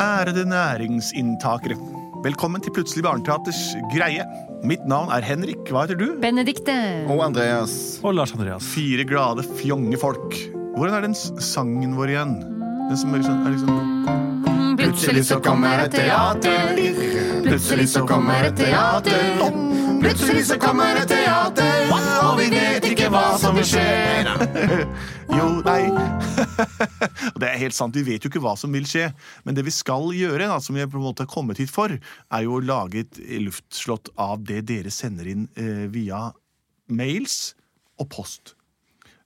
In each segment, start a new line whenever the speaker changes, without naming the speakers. Ærede næringsinntakere. Velkommen til Plutselig barneteaters greie. Mitt navn er Henrik. Hva heter du?
Benedikte.
Og Andreas.
Og Lars Andreas.
Fire glade, fjonge folk. Hvordan er den s- sangen vår igjen? Den som er liksom, er liksom
Plutselig så kommer et teater. Plutselig så kommer et teater. Plutselig så kommer et teater, og vi vet ikke hva som vil skje.
Jo, nei Og Det er helt sant. Vi vet jo ikke hva som vil skje. Men det vi skal gjøre, da, som vi på en måte har kommet hit for, er jo å lage et luftslott av det dere sender inn eh, via mails og post.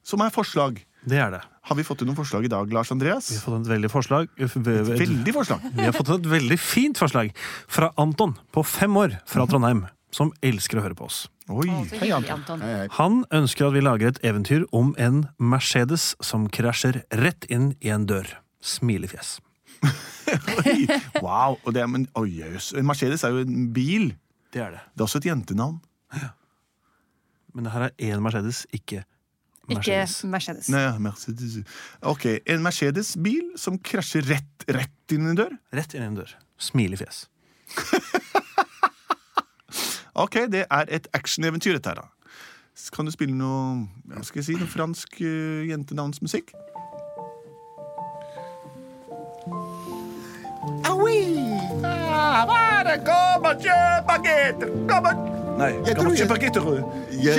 Som er forslag.
Det er det.
Har vi fått inn noen forslag i dag, Lars Andreas?
Vi har fått et veldig forslag.
Veldig forslag.
Vi har fått et veldig fint forslag fra Anton på fem år fra Trondheim, som elsker å høre på oss.
Oi, hei, Anton.
Anton.
Han ønsker at vi lager et eventyr om en Mercedes som krasjer rett inn i en dør. Smilefjes.
Oi, wow. Og det er, men, oi, jøss. En Mercedes er jo en bil.
Det er det.
Det er også et jentenavn.
Men det her er én Mercedes, ikke
Ikke
Mercedes.
Mercedes.
Nei, ja, Mercedes. Ok, En Mercedes-bil som krasjer rett, rett inn i en dør.
Rett inn i en dør. Smilefjes.
Ok, Det er et actioneventyr, dette her. da. S- Kan du spille noe hva skal jeg si, noe fransk eh, jentenavnsmusikk? Nei.
Jeg
kan
tror
man
jeg-
kjøpe baguetter, Rød?
Jeg-
Ja,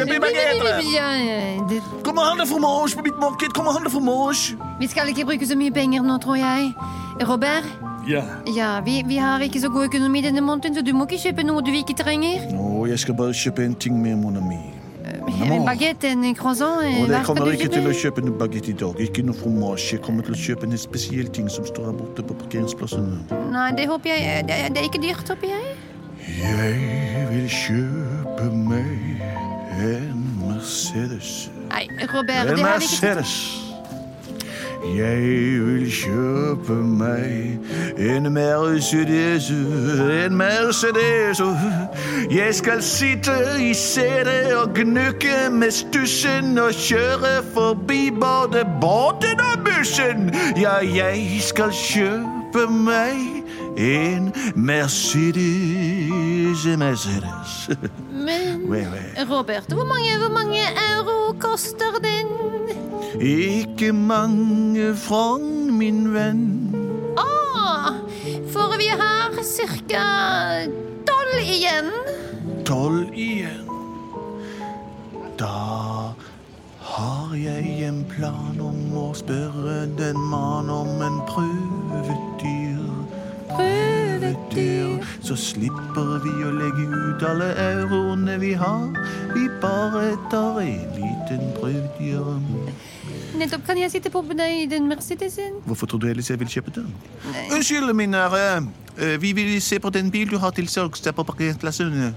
ja, eh, det-
Kom og handle fromage på mitt marked! Kom og handle fromage!
Vi skal ikke bruke så mye penger nå, tror jeg. Robert,
Ja.
ja, vi, vi har ikke så god økonomi denne måneden, så du må ikke kjøpe noe du ikke trenger.
Nå, jeg skal bare kjøpe en ting med mon ami.
En baguette, en croissant
Og
eh, Hva
jeg
skal
kommer
du
ikke til å
kjøpe?
kjøpe noe baguette i dag. Ikke noe fromage. Jeg kommer til å kjøpe en spesiell ting som står her borte på parkeringsplassen.
Nei, det håper jeg eh, Det, er- det er ikke dyrt, håper jeg.
Jeg vil kjøpe meg en Mercedes.
Nei, Robert,
En
det har vi ikke
Mercedes. Jeg vil kjøpe meg en Mercedes, en Mercedes. Jeg skal sitte i setet og gnukke med stussen og kjøre forbi både båten og bussen. Ja, jeg skal kjøpe meg en Mercedes, en Mercedes.
Men
Wait, wait.
Robert, hvor mange, hvor mange euro koster den?
Ikke mange frang, min venn.
Å, for vi har cirka tolv igjen.
tolv igjen. Da har jeg en plan om å spørre den mann om en prøvedyr. Prøvedyr. Så slipper vi å legge ut alle euroene vi har. Vi bare tar en liten prøvedyr.
Nettopp kan jeg sitte på med deg i den Mercedesen.
Hvorfor tror du ellers jeg vil kjøpe den? Unnskyld, min ære. Eh, Vi vil se på den bil du har til salgs der på parkeringsplassen.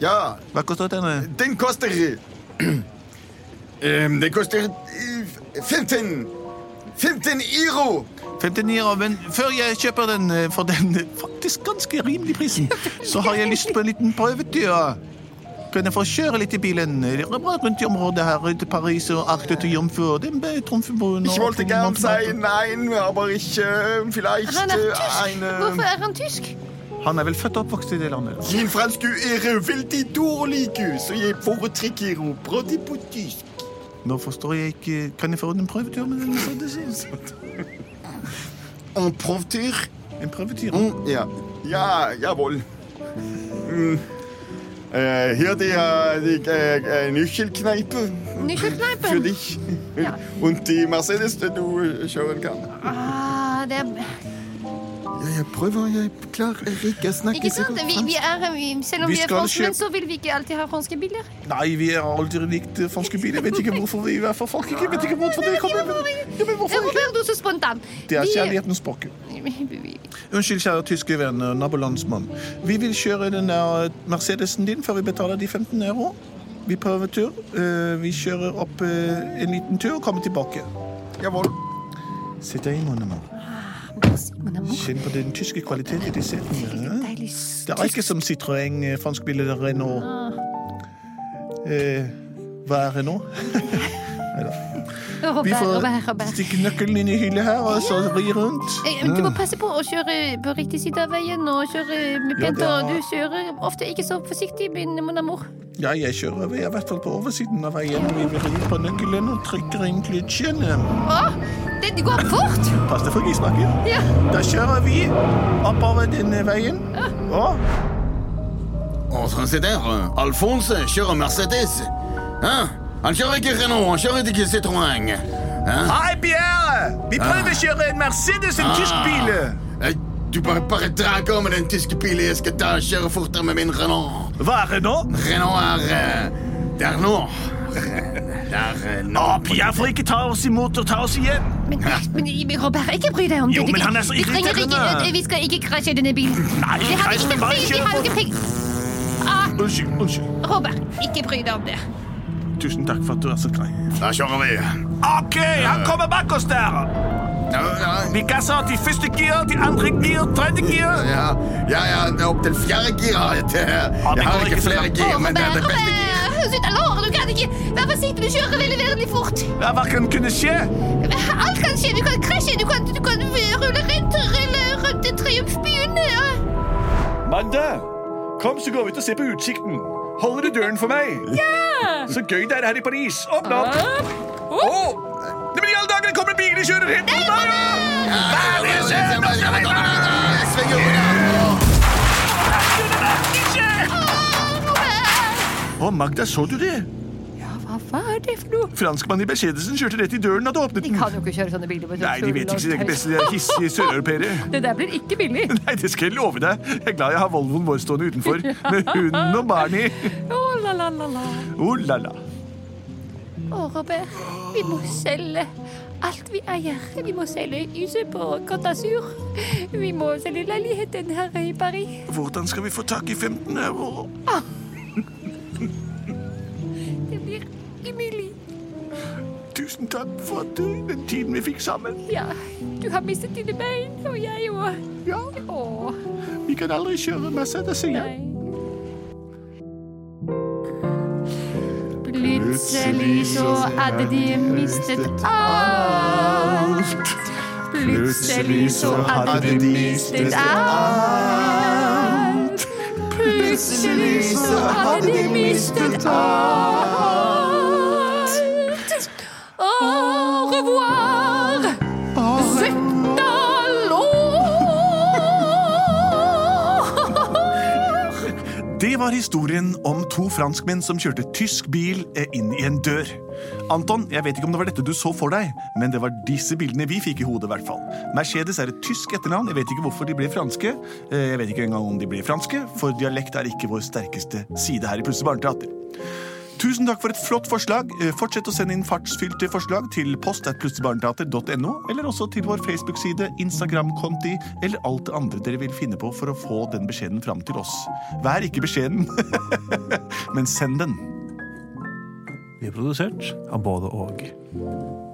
Ja,
Hva koster den?
den koster Ehm, Den koster eh, 15 15 euro!
59 euro, men før jeg kjøper den eh, for den eh, faktisk ganske rimelige prisen, så har jeg lyst på en liten prøvetur. Kan jeg få kjøre litt i bilen? Det er bra rundt i området her, til Paris og Arte til Jomfru. Den ble Tromsøbroen og-
Ich wollte gern sein, nein, aber ich äh, vielleicht
Han er tysk.
äh,
Hvorfor
eine...
er han tysk?
Han er vel født og oppvokst i det landet? da?
Din fransk er veldig dårlig, så jeg foretrekker å prate på tysk.
Nå forstår jeg ikke Kan jeg få en prøvetur med den? Mercedes?
En prøvetur?
En prøvetur?
Mm, ja. Ja, jawohl. Mm. Äh, hier die, äh, die äh, äh, Nüchelkneipe für
Nykkelkneipen.
dich.
Ja.
Und die Mercedes, die du äh, schauen kannst.
Ah, det er...
Ja, jeg prøver. Jeg klarer ikke å snakke
Ikke sant? Vi, vi er, vi, selv om
Vi
vi er
skal
franskmenn,
kjøpe-
så vil vi ikke alltid ha franske biler.
Nei, vi har aldri likt eh, franske biler. Jeg vet ikke hvorfor vi er fra Frankrike. Jeg vet ikke hvorfor det kommer. Men, ja, men hvorfor ikke?
Robert, du er så spontan.
Det er
Vi-
kjærlighetens språk.
Vi- vi-
Unnskyld, kjære tyske venn, eh, nabolandsmann. Vi vil kjøre den der eh, Mercedesen din før vi betaler de 15 euro. Vi prøver tur. Eh, Vi kjører opp eh, en liten tur og kommer tilbake.
Jawohl.
Sett deg inn, Monnemar.
Simon er mor.
Kjenn på den tyske kvaliteten i de setene. ja.
Deilig
Det er ikke som Citroën, eh, fransk
Ah.
bil eller Renault. Eh, hva er Renault? Neida.
Og
Vi
bære, bære,
får
bære.
stikke nøkkelen inn i hylla her og så ri rundt.
Eh, Du må passe på å kjøre på riktig side av veien og kjøre med pent.
Ja,
og
det er-
Du kjører ofte ikke så forsiktig, min mon amour.
Ja, jeg kjører over, i hvert fall på oversiden av veien. Vi vrir på nøkkelen og trykker inn klitsjen.
Å, det går fort!
Pass deg for grisbakken.
Ja.
Da kjører vi oppover denne veien. Og
Og se der, Alfonse kjører Mercedes. Hæ? Han kjører ikke Renault, han kjører ikke Citroën. Ah. Hæ?
Hei, Pierre! Vi prøver å kjøre en Mercedes,
Ah.
en tysk bil.
Eh, Du bare, bare drager med den tyske bilen. Jeg skal da kjøre fortere med min Renault.
Hva er det nå?
Renault er eh, der nå. Der eh, nå.
Å, Pierre får ikke ta oss imot og ta oss igjen.
Men, men, men Robert, ikke bry deg om det.
Jo,
Det-
men han er så
vi trenger
irriterende.
ikke- Vi skal ikke krasje denne bilen.
Nei,
Vi har
krasj,
ikke
men bare
penger, vi
kjør
har
på.
ikke penger. Ah,
Unnskyld. unnskyld.
Robert, ikke bry deg om det.
Tusen takk for at du er så grei.
Da kjører vi.
OK, han kommer bak oss der.
Ja, ja,
Vi gasser til første gir, til andre gir, tredje gir.
ja, ja, ja det er opp til fjerde gir. har Jeg til.
Ja, det
Jeg
går
har
ikke
ikke
så
flere
langt.
gir, men det er
Robert,
det beste gir.
Robert, slutt å låre, du kan ikke. Vær forsiktig, du kjører veldig, veldig fort.
Ja, hva kan kunne skje?
Alt kan skje, du kan krasje, du kan, du kan rulle rundt, rulle rundt i triumfbyen. Ja.
Mandag, kom så går vi ut og ser på utsikten. Holder du døren for meg? Ja! Så gøy det er her i Paris. Åpne opp. Åh! Nei, men i alle dager, det kommer biler og kjører rett mot meg! ja! Hva er det som skjer? Nå skal vi ta- Å, Magda, så du det?
Hva var det for noe?
Franskmannen i Mercedesen kjørte rett i døren da du åpnet
De
den.
kan jo ikke kjøre sånne biler. med sånn
Nei, de vet ikke sitt eget beste. De er hissige søreuropeere.
Det der blir ikke billig.
Nei, det skal jeg love deg. Jeg er glad jeg har Volvoen vår stående utenfor med hunden og Barney.
Åh, la, la, la, la.
Oh la la.
Å, Robert, vi må selge alt vi eier. Vi må selge huset på Côte d'Azur. Vi må selge leiligheten her i Paris.
Hvordan skal vi få tak i 15 euro?
Det blir umulig.
Tusen takk for at du, den tiden vi fikk sammen.
Ja, du har mistet dine bein, og jeg òg.
Ja,
Åh,
vi kan aldri kjøre Mercedes igjen.
nei. Plutselig så hadde de mistet alt. Plutselig så hadde de mistet alt. Plutselig så hadde de mistet alt. Au revoir, Zetalor.
Det var historien om to franskmenn som kjørte tysk bil eh, inn i en dør. Anton, jeg vet ikke om det var dette du så for deg, men det var disse bildene vi fikk i hodet. i hvert fall. Mercedes er et tysk etternavn. Jeg vet ikke hvorfor de ble franske. Eh, Jeg vet ikke engang om de ble franske, for dialekt er ikke vår sterkeste side her i Plutselig barneteater. Tusen takk for et flott forslag. Eh, Fortsett å sende inn fartsfylte forslag til post.plutseligbarneteater.no, eller også til vår Facebook-side, Instagram-konti eller alt det andre dere vil finne på for å få den beskjeden fram til oss. Vær ikke beskjeden, men send den.
Vi er produsert av både og.